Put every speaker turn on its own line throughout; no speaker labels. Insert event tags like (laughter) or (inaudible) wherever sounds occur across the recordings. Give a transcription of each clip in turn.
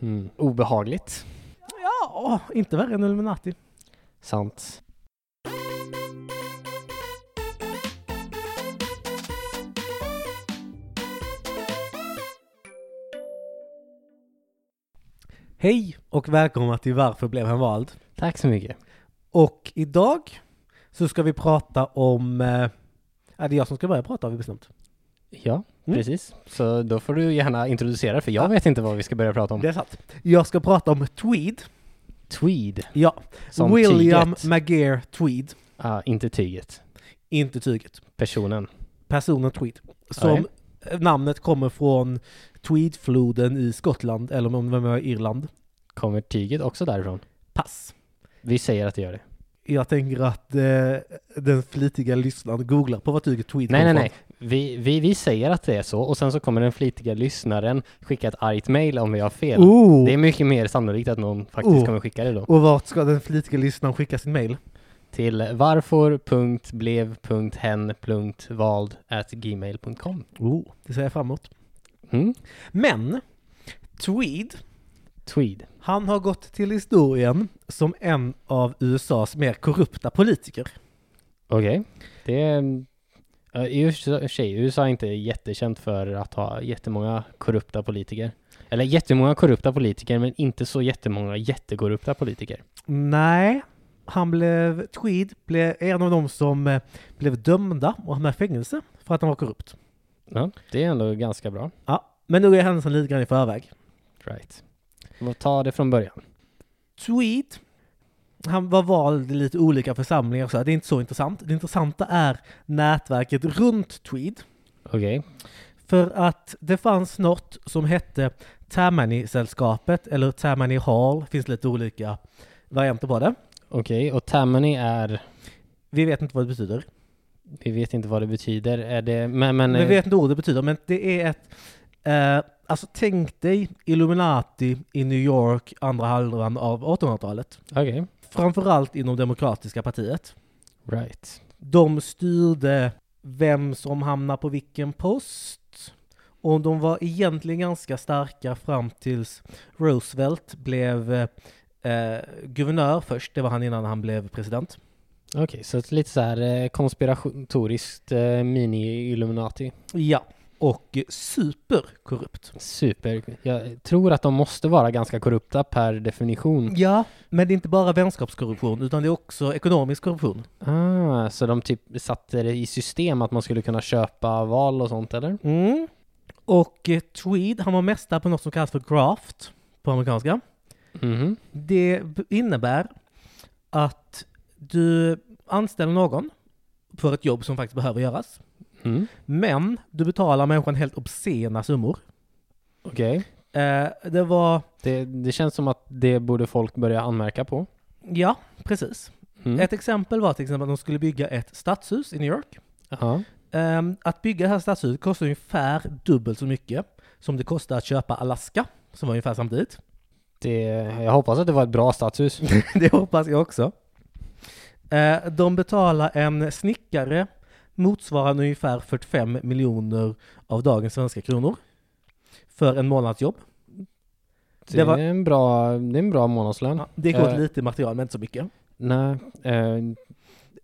Mm. Obehagligt.
Ja, inte värre än Illuminati.
Sant.
Hej och välkomna till Varför blev han vald?
Tack så mycket.
Och idag så ska vi prata om... Eh, ja, det är jag som ska börja prata har vi bestämt.
Ja,
Mm.
precis. Så då får du gärna introducera, för jag vet inte vad vi ska börja prata om.
Det är sant. Jag ska prata om Tweed.
Tweed.
Ja,
Som
William
tyget.
Maguire Tweed.
Ah, inte tyget.
Inte tyget.
Personen.
Personen Tweed. Som namnet kommer från Tweedfloden i Skottland, eller om det var Irland.
Kommer tyget också därifrån?
Pass.
Vi säger att det gör det.
Jag tänker att eh, den flitiga lyssnaren googlar på vad tyget Tweed
Nej, nej,
kommer
nej. Vi, vi, vi säger att det är så och sen så kommer den flitiga lyssnaren skicka ett argt mail om vi har fel.
från. Oh.
Det är mycket mer sannolikt att någon faktiskt
Oh.
kommer skicka det då.
Och vart ska den flitiga lyssnaren skicka sin mail?
Till varfor.blev.hen.vald.gmail.com
Oh. Det ser jag fram emot.
mm?
Men Tweed,
Tweed.
han har gått till historien som en av USAs mer korrupta politiker.
Okej. Det är... ja, I och för sig, USA är inte jättekänt för att ha jättemånga korrupta politiker. Eller jättemånga korrupta politiker, men inte så jättemånga jättekorrupta politiker.
Nej, han blev, Tweed blev en av de som eh, blev dömda och hamnade i fängelse för att han var korrupt.
Ja, det är ändå ganska bra.
Ja, men nu är händelsen lite grann i förväg.
Right. Vad- Ta det från början.
Tweed, han var vald i lite olika församlingar och så här. det är inte så intressant. Det intressanta är nätverket runt Tweed.
Okej.
För att det fanns något som hette Tammany-sällskapet, eller Tammany Hall, finns lite olika varianter på det.
Okej, och Tammany är...
Vi vet inte vad det betyder.
Vi vet inte vad det betyder. Är det... Men... men
Vi vet inte vad det betyder, men det är ett... Eh, alltså tänk dig Illuminati i New York andra halvan av 1800-talet.
Okej.
Framförallt inom Demokratiska partiet.
Right.
De styrde vem som hamnar på vilken post. Och de var egentligen ganska starka fram tills Roosevelt blev eh, guvernör först. Det var han innan han blev president.
Okej, så ett lite så här eh, konspiratoriskt eh, mini-Illuminati.
Ja. Och superkorrupt.
Super. Jag tror att de måste vara ganska korrupta per definition.
Ja, men det är inte bara vänskapskorruption utan det är också ekonomisk korruption.
Ah, så de typ satte det i system att man skulle kunna köpa val och sånt, eller?
Mm. Och eh, Tweed, han var mästare på något som kallas för graft på amerikanska. Mm-hmm.
Mhm.
Det b- innebär att du anställer någon för ett jobb som faktiskt behöver göras.
Mm.
Men du betalar människan helt obscena summor.
Okej.
Eh, det var,
Det, det känns som att det borde folk börja anmärka på.
ja, precis.
Mm.
Ett exempel var till exempel att de skulle bygga ett stadshus i New York.
Ja.
Eh, att bygga det här stadshuset kostar ungefär dubbelt så mycket som det kostar att köpa Alaska, som var ungefär samtidigt.
Det, jag hoppas att det var ett bra stadshus.
(laughs) Det hoppas jag också. Eh, De betalar en snickare motsvarande ungefär 45 miljoner av dagens svenska kronor för en månadsjobb.
Det,
Det var-
är en bra, det är en bra månadslön.
Ja, Det går åt
Eh.
lite material, men inte så mycket.
Nej, eh,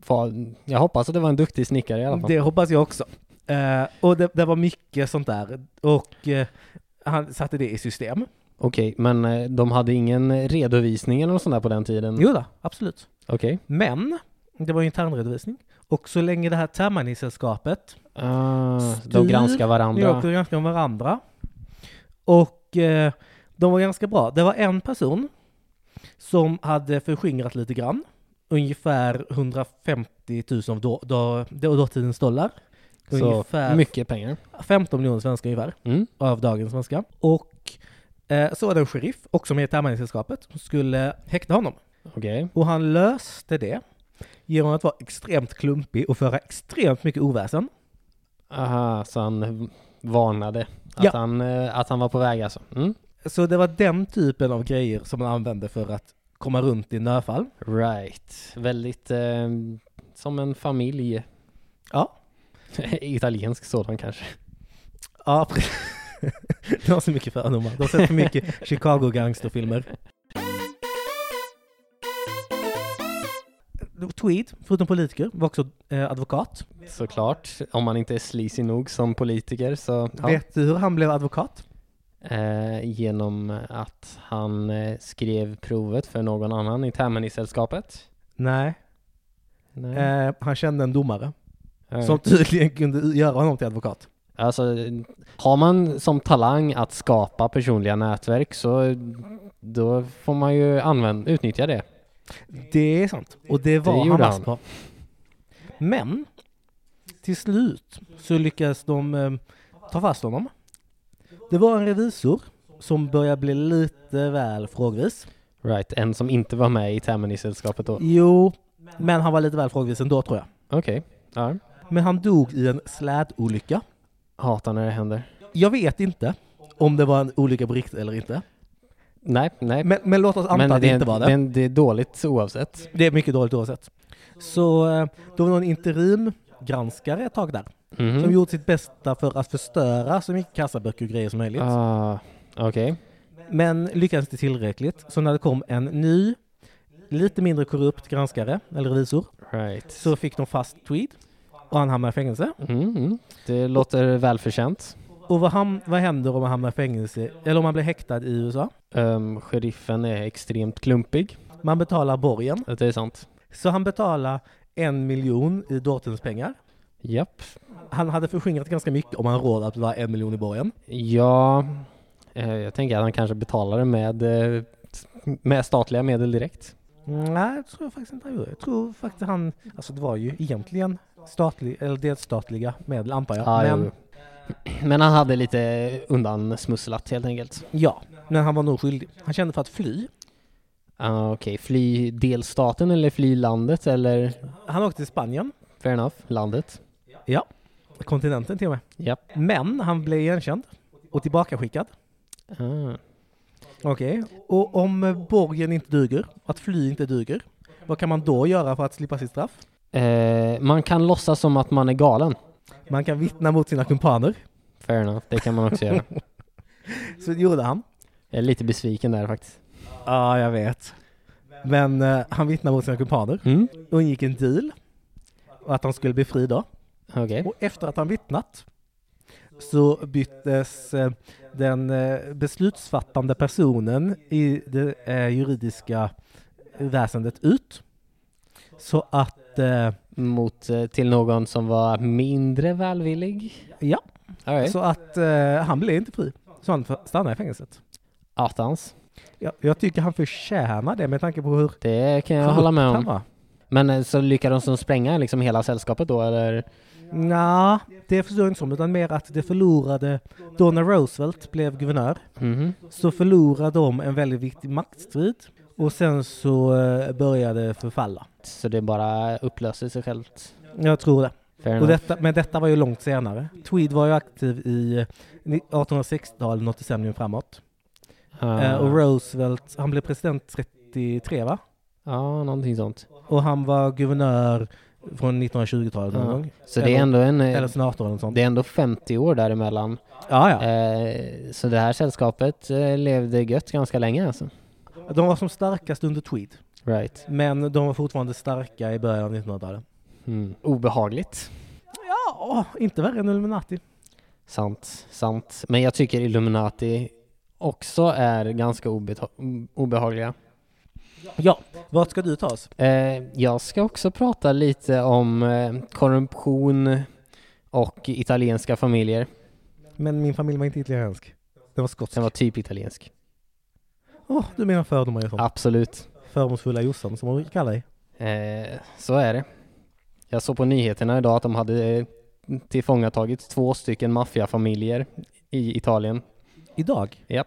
fan, jag hoppas att det var en duktig snickare i alla fall.
Det hoppas jag också. Eh, Och det, det var mycket sånt där. Och eh, han satte det i
Mm.
system.
Okej, men eh, de hade ingen redovisning eller något sånt där på den tiden?
Jo då, absolut.
Okej.
Men det var ju internredovisning. Och så länge det här Tammany-sällskapet
Ah,
Styr,
de granskar
New York
varandra.
var ganska om varandra. Och eh, de var ganska bra. Det var en person som hade förskingrat lite grann. Ungefär 150 000 av då, då, då, dåtidens dollar.
Så
Ungefär
mycket pengar.
15 miljoner svenska ungefär,
Mm.
av dagens svenska. Och eh, så var det en sheriff, också med i Tammansällskapet, som skulle häkta honom.
Okej.
Och han löste det genom att vara extremt klumpig och föra extremt mycket oväsen.
Aha, så han varnade att,
Ja.
han, eh, att han var på väg alltså. Mm.
Så det var den typen av grejer som man använde för att komma runt i nödfall.
Right. Väldigt eh, som en familj.
Ja.
(laughs) Italiensk sådan kanske.
Ja, pre- (laughs) De har så mycket fördomar. De har sett för (laughs) mycket Chicago gangsterfilmer. Tweed, förutom politiker, var också eh, advokat.
Såklart, om man inte är sleazy nog som politiker så... Ja.
Vet du hur han blev advokat?
Eh, genom att han eh, skrev provet för någon annan i Tammany-sällskapet.
Nej.
Nej.
Eh, han kände en domare
Eh,
som tydligen kunde göra honom till advokat.
Alltså, har man som talang att skapa personliga nätverk så då får man ju använda, utnyttja det.
Det är sant. Och det var han
gjorde
vass
han.
på. Men till slut så lyckades de eh, ta fast honom. Det var en revisor som började bli lite väl frågvis.
Right, en som inte var med i Tammany-sällskapet då.
Jo, men han var lite väl frågvis ändå tror jag.
Okej, ja.
Men han dog i en slädolycka.
Hatar när det händer.
Jag vet inte om det var en olycka på riktigt eller inte.
Nej, nej.
Men, men låt oss anta att det inte var det.
Men det är dåligt oavsett.
Det är mycket dåligt oavsett. Så eh, det var någon interimgranskare ett tag där.
Mhm.
Som gjort sitt bästa för att förstöra så mycket kassaböcker och grejer som möjligt.
Ah, Okej.
Men lyckades inte tillräckligt. Så när det kom en ny, lite mindre korrupt granskare, eller revisor,
Right.
så fick de fast Tweed. Och han hamnade i fängelse.
Mm, mm. Det låter välförtjänt.
Och vad, ham- vad händer om man hamnar i fängelse, eller om man blir häktad i USA?
Um, sheriffen är extremt klumpig.
Man betalar borgen.
Det är sant.
Så han betalar en miljon i Dortons pengar.
Japp.
Han hade förskingrat ganska mycket om han råd att betala en miljon i borgen.
Ja, eh, jag tänker att han kanske betalar det med, eh, med statliga medel direkt.
Nej, det tror jag faktiskt inte han gjorde. Jag tror faktiskt han, alltså det var ju egentligen statlig, eller delstatliga medel antar jag.
Ah,
men,
jo. Men han hade lite undansmusslat helt enkelt.
ja, men han var nog skyldig. Han kände för att fly.
Ah, Okej, fly delstaten eller fly landet eller
Han åkte till Spanien,
fair enough, landet.
kontinenten till och med.
Japp.
Men han blev igenkänd och tillbakaskickad.
Ah.
Okej. Och om borgen inte duger, att fly inte duger, vad kan man då göra för att slippa sitt straff?
Eh, man kan låtsas som att man är galen.
Man kan vittna mot sina kumpaner.
Fair enough, det kan man också
(laughs)
göra.
Så det gjorde han.
Jag är lite besviken där faktiskt.
Ja, jag vet. Men eh, han vittnade mot sina kumpaner
Mm.
och ingick en deal och att han skulle bli fri då.
Okej.
Och efter att han vittnat så byttes eh, den eh, beslutsfattande personen i det eh, juridiska väsendet ut. Så att, eh,
Mot eh, till någon som var mindre välvillig.
ja,
All right.
så att eh, han blev inte fri. Så han stannade i fängelset.
Attans.
Jag, jag tycker han förtjänar det med tanke på hur
Det kan jag hålla med
han
om.
var.
Men eh, så lyckades de spränga liksom hela sällskapet då eller?
Nja, det förstår jag inte som, utan mer att det förlorade, då när Roosevelt blev guvernör
Mhm.
så förlorade de en väldigt viktig maktstrid och sen så eh, började det förfalla.
Så det bara upplöser sig självt.
Jag tror det.
Fair
Och
enough.
detta, men detta var ju långt senare. Tweed var ju aktiv i 1860-talet, något decennium framåt.
Ah.
Eh, och Roosevelt, han blev president 33 va?
Ja, någonting sånt.
Och han var guvernör från 1920-talet någon
Ja.
gång.
Så det är
Eller-
ändå en, eh,
Eller snart 18 eller något
Ah.
sånt.
det är ändå 50 år däremellan.
ja, ja.
Eh, så det här sällskapet eh, levde gött ganska länge alltså.
De var som starkast under Tweed.
Right.
Men de var fortfarande starka i början av 1900-talet.
Mm. Obehagligt.
Ja, inte värre än Illuminati.
Sant, sant. Men jag tycker Illuminati också är ganska obeta- obehagliga.
Ja, vart ska du ta oss?
Eh, jag ska också prata lite om eh, korruption och italienska familjer.
Men min familj var inte italiensk. Den var skotsk.
Den var typ italiensk.
Åh, du menar fördomar och sånt.
Absolut.
Fördomsfulla Jossan som hon kallar dig.
Eh, så är det. Jag såg på nyheterna idag att de hade eh, tillfångatagit två stycken maffiafamiljer i Italien.
Idag?
Japp.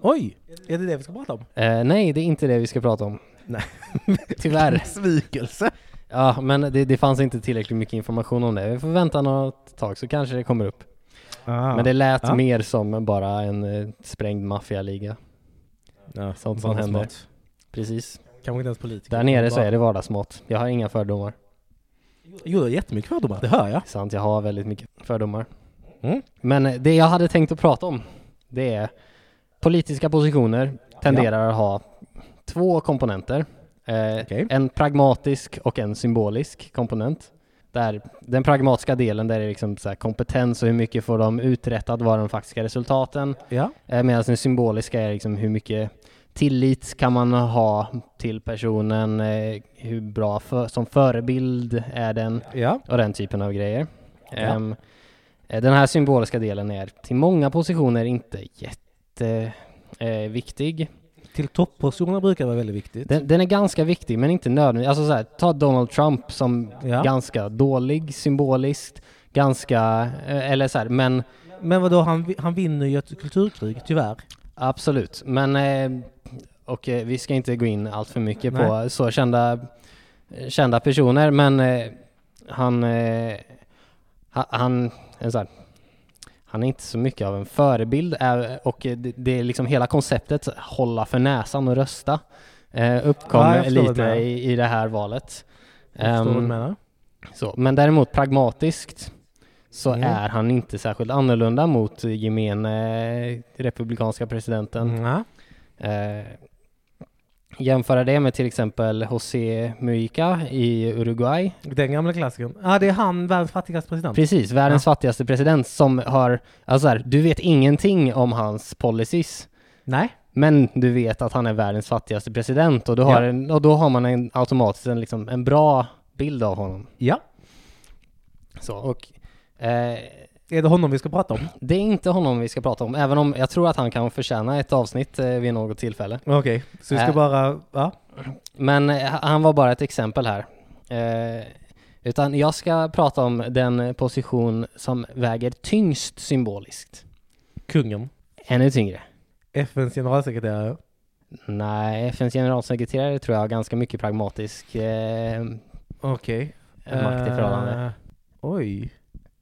Oj! Är det det vi ska prata om?
Eh, nej, det är inte det vi ska prata om.
Nej.
(laughs) Tyvärr.
Svikelse!
Ja, men det, det fanns inte tillräckligt mycket information om det. Vi får vänta något tag så kanske det kommer upp.
Ah.
Men det lät
Ja.
mer som bara en eh, sprängd maffialiga.
ja,
sånt som händer. Precis.
Kanske inte ens politiker.
Där nere så är det vardagsmat. Jag har inga fördomar.
Jo, det är jättemycket fördomar. Det hör jag.
Sant, jag har väldigt mycket fördomar. Mm. Men det jag hade tänkt att prata om, det är politiska positioner tenderar att ha två komponenter. Eh,
Okej.
En pragmatisk och en symbolisk komponent. Där den pragmatiska delen där är liksom så här kompetens och hur mycket får de uträttat, vad är de faktiska resultaten.
Ja.
Eh, Medan den symboliska är liksom hur mycket tillit kan man ha till personen, eh, hur bra för, som förebild är den
Ja.
och den typen av grejer.
Ja.
Ehm, eh, den här symboliska delen är till många positioner inte jätte eh, viktig.
Till toppositioner brukar det vara väldigt viktigt.
Den, den är ganska viktig men inte nödvändig. Alltså så här, ta Donald Trump som
Ja.
ganska dålig symboliskt, ganska, eh, eller så här, men
Men vadå, han, vi- han vinner ju ett kulturkrig, tyvärr.
Absolut, men eh, och eh, vi ska inte gå in allt för mycket på
Nej.
så kända, kända personer, men eh, han, eh, ha- han, en sån här, han är inte så mycket av en förebild eh, och eh, det, det är liksom hela konceptet hålla för näsan och rösta eh, uppkom
Ja, jag förstår vad du
lite
menar.
i, i det här valet.
Jag förstår vad du
Ehm,
menar.
så, men däremot pragmatiskt så
Mm.
är han inte särskilt annorlunda mot gemene eh, republikanska presidenten.
Mm, Ja.
Eh, jämföra det med till exempel José Mujica i Uruguay.
Den gamla klassikern. Ja, det är han, världens fattigaste president.
Precis, världens fattigaste president som har, alltså så här, du vet ingenting om hans policies.
Nej.
Men du vet att han är världens fattigaste president och, du har
Ja.
en, och då har man en, automatiskt en, liksom, en bra bild av honom.
Ja.
Så, och, eh,
Är det honom vi ska prata om?
det är inte honom vi ska prata om, även om jag tror att han kan förtjäna ett avsnitt eh, vid något tillfälle.
Okej, så vi ska
Äh.
bara... Ja.
Men eh, han var bara ett exempel här. Eh, utan jag ska prata om den position som väger tyngst symboliskt.
Kungen.
Ännu tyngre.
FNs generalsekreterare.
Nej, FNs generalsekreterare tror jag har ganska mycket pragmatisk eh,
Okej.
makt i förhållande.
Eh, oj.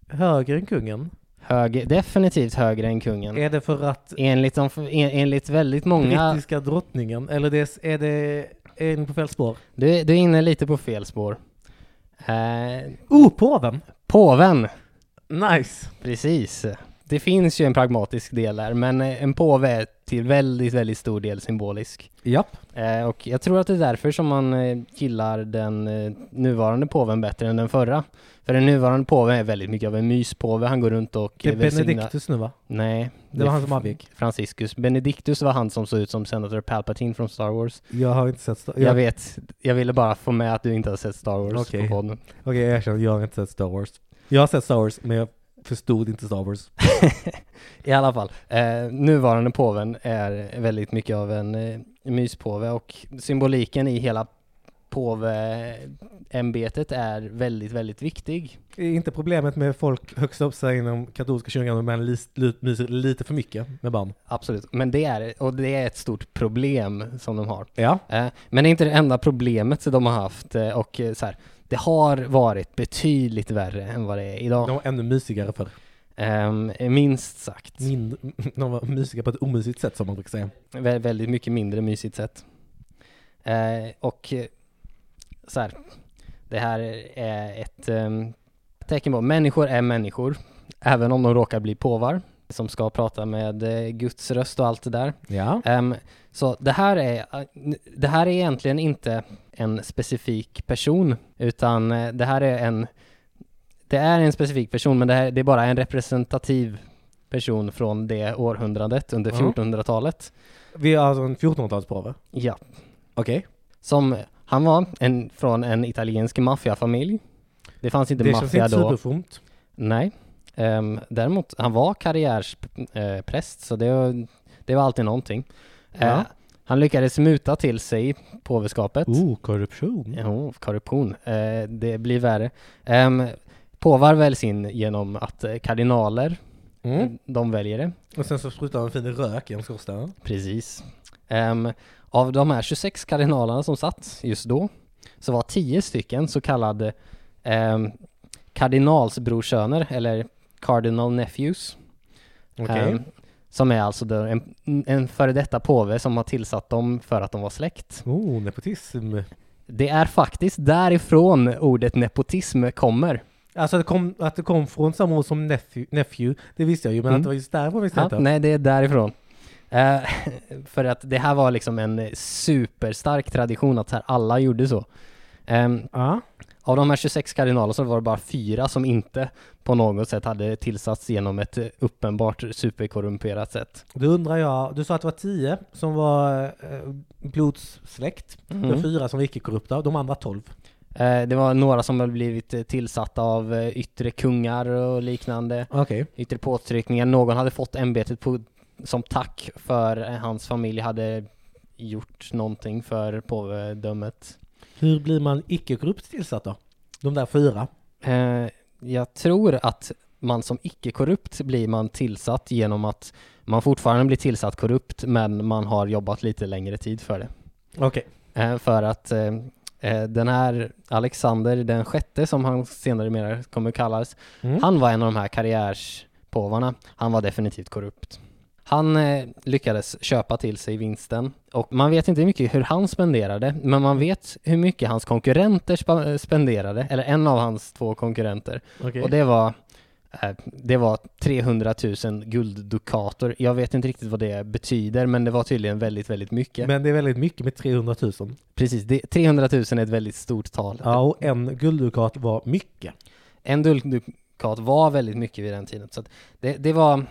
Högre än kungen?
Hög, definitivt högre än kungen.
Är det för att
Enligt, de, en, enligt väldigt Mm. många...
brittiska drottningen, eller det, är- är det... Är ni på fel spår?
Du, du är inne lite på fel spår. Eh,
Oh, påven!
påven,
Nice!
precis. Det finns ju en pragmatisk del där, men eh, en påve är till väldigt, väldigt stor del symbolisk.
Japp.
Eh, och jag tror att det är därför som man eh, gillar den eh, nuvarande påven bättre än den förra. För den nuvarande påven är väldigt mycket av en myspåve. Han går runt och
Det är
eh, välsignar-
Benediktus nu va?
Nej.
Det var han som avgick.
Franciscus. Benediktus var han som såg ut som senator Palpatine från Star Wars.
Jag har inte sett... Star-
Jag
jag-
vet. Jag ville bara få med att du inte har sett Star Wars
Okej.
på podden.
Okej, jag erkänner, jag har inte sett Star Wars. Jag har sett Star Wars, men jag förstod inte Star Wars.
I alla fall. Eh, nuvarande påven är väldigt mycket av en eh, myspåve och symboliken i hela påveämbetet är väldigt, väldigt viktig.
Det är inte problemet med folk högst upp sig inom katolska kyrkan, men lis- lut- myser lite för mycket med barn?
Absolut, men det är, och det är ett stort problem som de har.
Ja.
Eh, Men det är inte det enda problemet som de har haft eh, och eh, så här, det har varit betydligt värre än vad det är idag.
De var ännu mysigare förr.
Ehm, minst sagt.
Min, (laughs) de var mysiga på ett omysigt sätt som man brukar säga.
Vä- väldigt mycket mindre mysigt sätt. Eh, och eh, så här, det här är ett ehm, tecken på människor är människor, även om de råkar bli påvar som ska prata med eh, Guds röst och allt det där.
Ja.
Ehm, så det här, är, eh, det här är egentligen inte en specifik person, utan eh, det här är en, det är en specifik person, men det, här, det är bara en representativ person från det århundradet, under
Ja.
1400-talet.
Vi har alltså en 1400-talspåve.
Ja,
Okej.
som han var en, från en italiensk maffiafamilj. Det fanns inte
Det känns
maffia
inte
då.
superfromt.
Nej. Ehm, däremot, han var karriärspräst, så det, var- det var alltid någonting. Eh,
Ja.
han lyckades muta till sig påveskapet.
Oh, korruption.
Jo, korruption. Eh, det blir värre. Um, påvar väljs in genom att eh, kardinaler,
Mm.
de väljer det.
Och sen så sprutar han en fin rök genom skorstenen.
Precis. Ehm, av de här 26 kardinalerna som satt just då, så var 10 stycken så kallade um, kardinalsbrorsöner, eller cardinal nephews.
Okej.
ehm, som är alltså då en, en före detta påve som har tillsatt dem för att de var släkt.
Oh, nepotism.
Det är faktiskt därifrån ordet nepotism kommer.
Alltså att det kom, att det kom från samma år som nephew, nephew, det visste jag ju, men
Mm.
att det var just därifrån visste
Ja,
jag inte.
nej, det är därifrån. Eh, (laughs) för att det här var liksom en superstark tradition att så här alla gjorde så. Ehm,
Ja.
av de här 26 kardinalerna så var det bara fyra som inte på något sätt hade tillsatts genom ett eh, uppenbart superkorrumperat sätt.
Då undrar jag, du sa att det var tio som var eh, blodssläkt, det var
Mm.
fyra som var icke-korrupta, de andra tolv.
Eh, det var några som hade blivit eh, tillsatta av eh, yttre kungar och liknande,
Okej.
yttre påtryckningar. Någon hade fått ämbetet på, som tack för eh, hans familj hade gjort någonting för påvedömet.
Hur blir man icke-korrupt tillsatt då? De där fyra?
Eh, jag tror att man som icke-korrupt blir man tillsatt genom att man fortfarande blir tillsatt korrupt men man har jobbat lite längre tid för det.
Okej.
Eh, för att eh, eh, den här Alexander den sjätte som han senare mera kommer kallas,
Mm.
han var en av de här karriärspåvarna. Han var definitivt korrupt. Han eh, lyckades köpa till sig vinsten och man vet inte hur mycket hur han spenderade, men man vet hur mycket hans konkurrenter spa- spenderade, eller en av hans två konkurrenter.
Okej.
Och det var, eh, det var 300 000 gulddukater. Jag vet inte riktigt vad det betyder, men det var tydligen väldigt, väldigt mycket.
Men det är väldigt mycket med 300 000.
Precis, det, 300 000 är ett väldigt stort tal.
Ja, och en gulddukat var mycket. (laughs)
En gulddukat var väldigt mycket vid den tiden. Så att det, det var,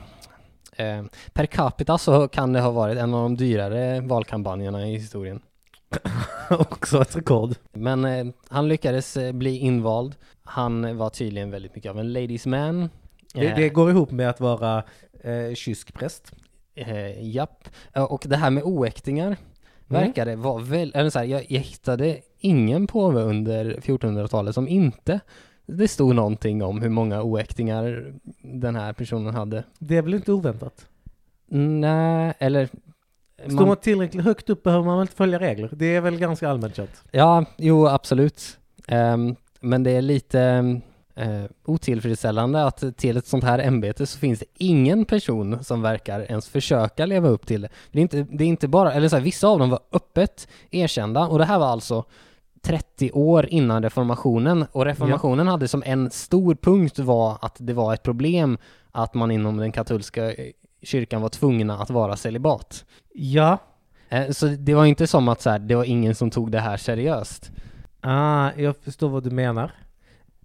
eh, per capita så kan det ha varit en av de dyrare valkampanjerna i historien.
Också ett rekord.
Men eh, han lyckades eh, bli invald. Han var tydligen väldigt mycket av en ladies man.
Det,
Eh,
det går ihop med att vara eh, kysk präst.
Eh, japp. Eh, Och det här med oäktingar verkade vara väl, eller så här, jag, jag hittade ingen påve under 1400-talet som inte det stod någonting om hur många oäktingar den här personen hade.
Det är väl inte oväntat?
Nej, eller...
Står man
Man,
tillräckligt högt upp behöver man väl inte följa regler? Det är väl ganska allmänt känt?
ja, jo absolut. Ehm, men det är lite eh, otillfredsställande att till ett sånt här ämbete så finns det ingen person som verkar ens försöka leva upp till det. Det är inte, det är inte bara, eller så här, vissa av dem var öppet erkända och det här var alltså 30 år innan reformationen och reformationen hade som en stor punkt var att det var ett problem att man inom den katolska eh, kyrkan var tvungna att vara celibat.
Ja.
Eh, Så det var inte som att så här, det var ingen som tog det här seriöst.
Ah, jag förstår vad du menar.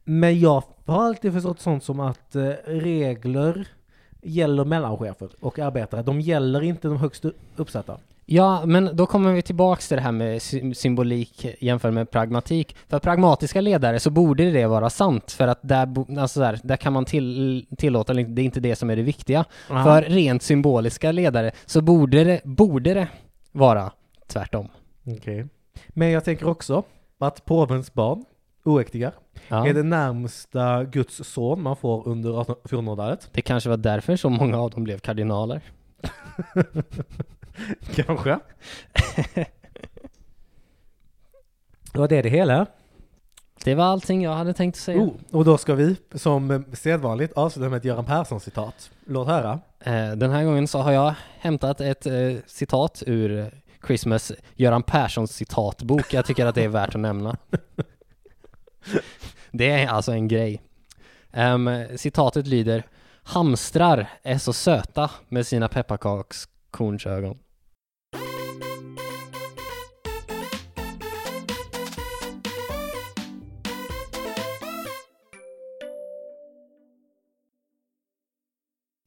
Men jag har alltid förstått sånt som att eh, regler gäller mellanchefer och arbetare. De gäller inte de högst u- uppsatta.
Ja, men då kommer vi tillbaks till det här med sy- symbolik jämfört med pragmatik. För pragmatiska ledare så borde det vara sant, för att där, bo- alltså där, där kan man till, tillåta, det är inte det som är det viktiga. För rent symboliska ledare så borde det, borde det vara tvärtom.
Okej. Men jag tänker också att påvens barn, oäktingar,
Ja.
är
Det...
det närmsta Guds son man får under 18 1400-talet.
kanske var därför så många av dem blev kardinaler.
(laughs) (laughs) Kanske. Det var det det hela.
Det var allting jag hade tänkt säga.
Oh, och då ska vi, som sedvanligt, avsluta med ett Göran Persson-citat. Låt höra.
Eh, Den här gången så har jag hämtat ett eh, citat ur Christmas Göran Perssons citatbok. Jag tycker att det är värt att nämna. Det är alltså en grej. Ehm, citatet lyder Hamstrar är så söta med sina pepparkakskornsögon.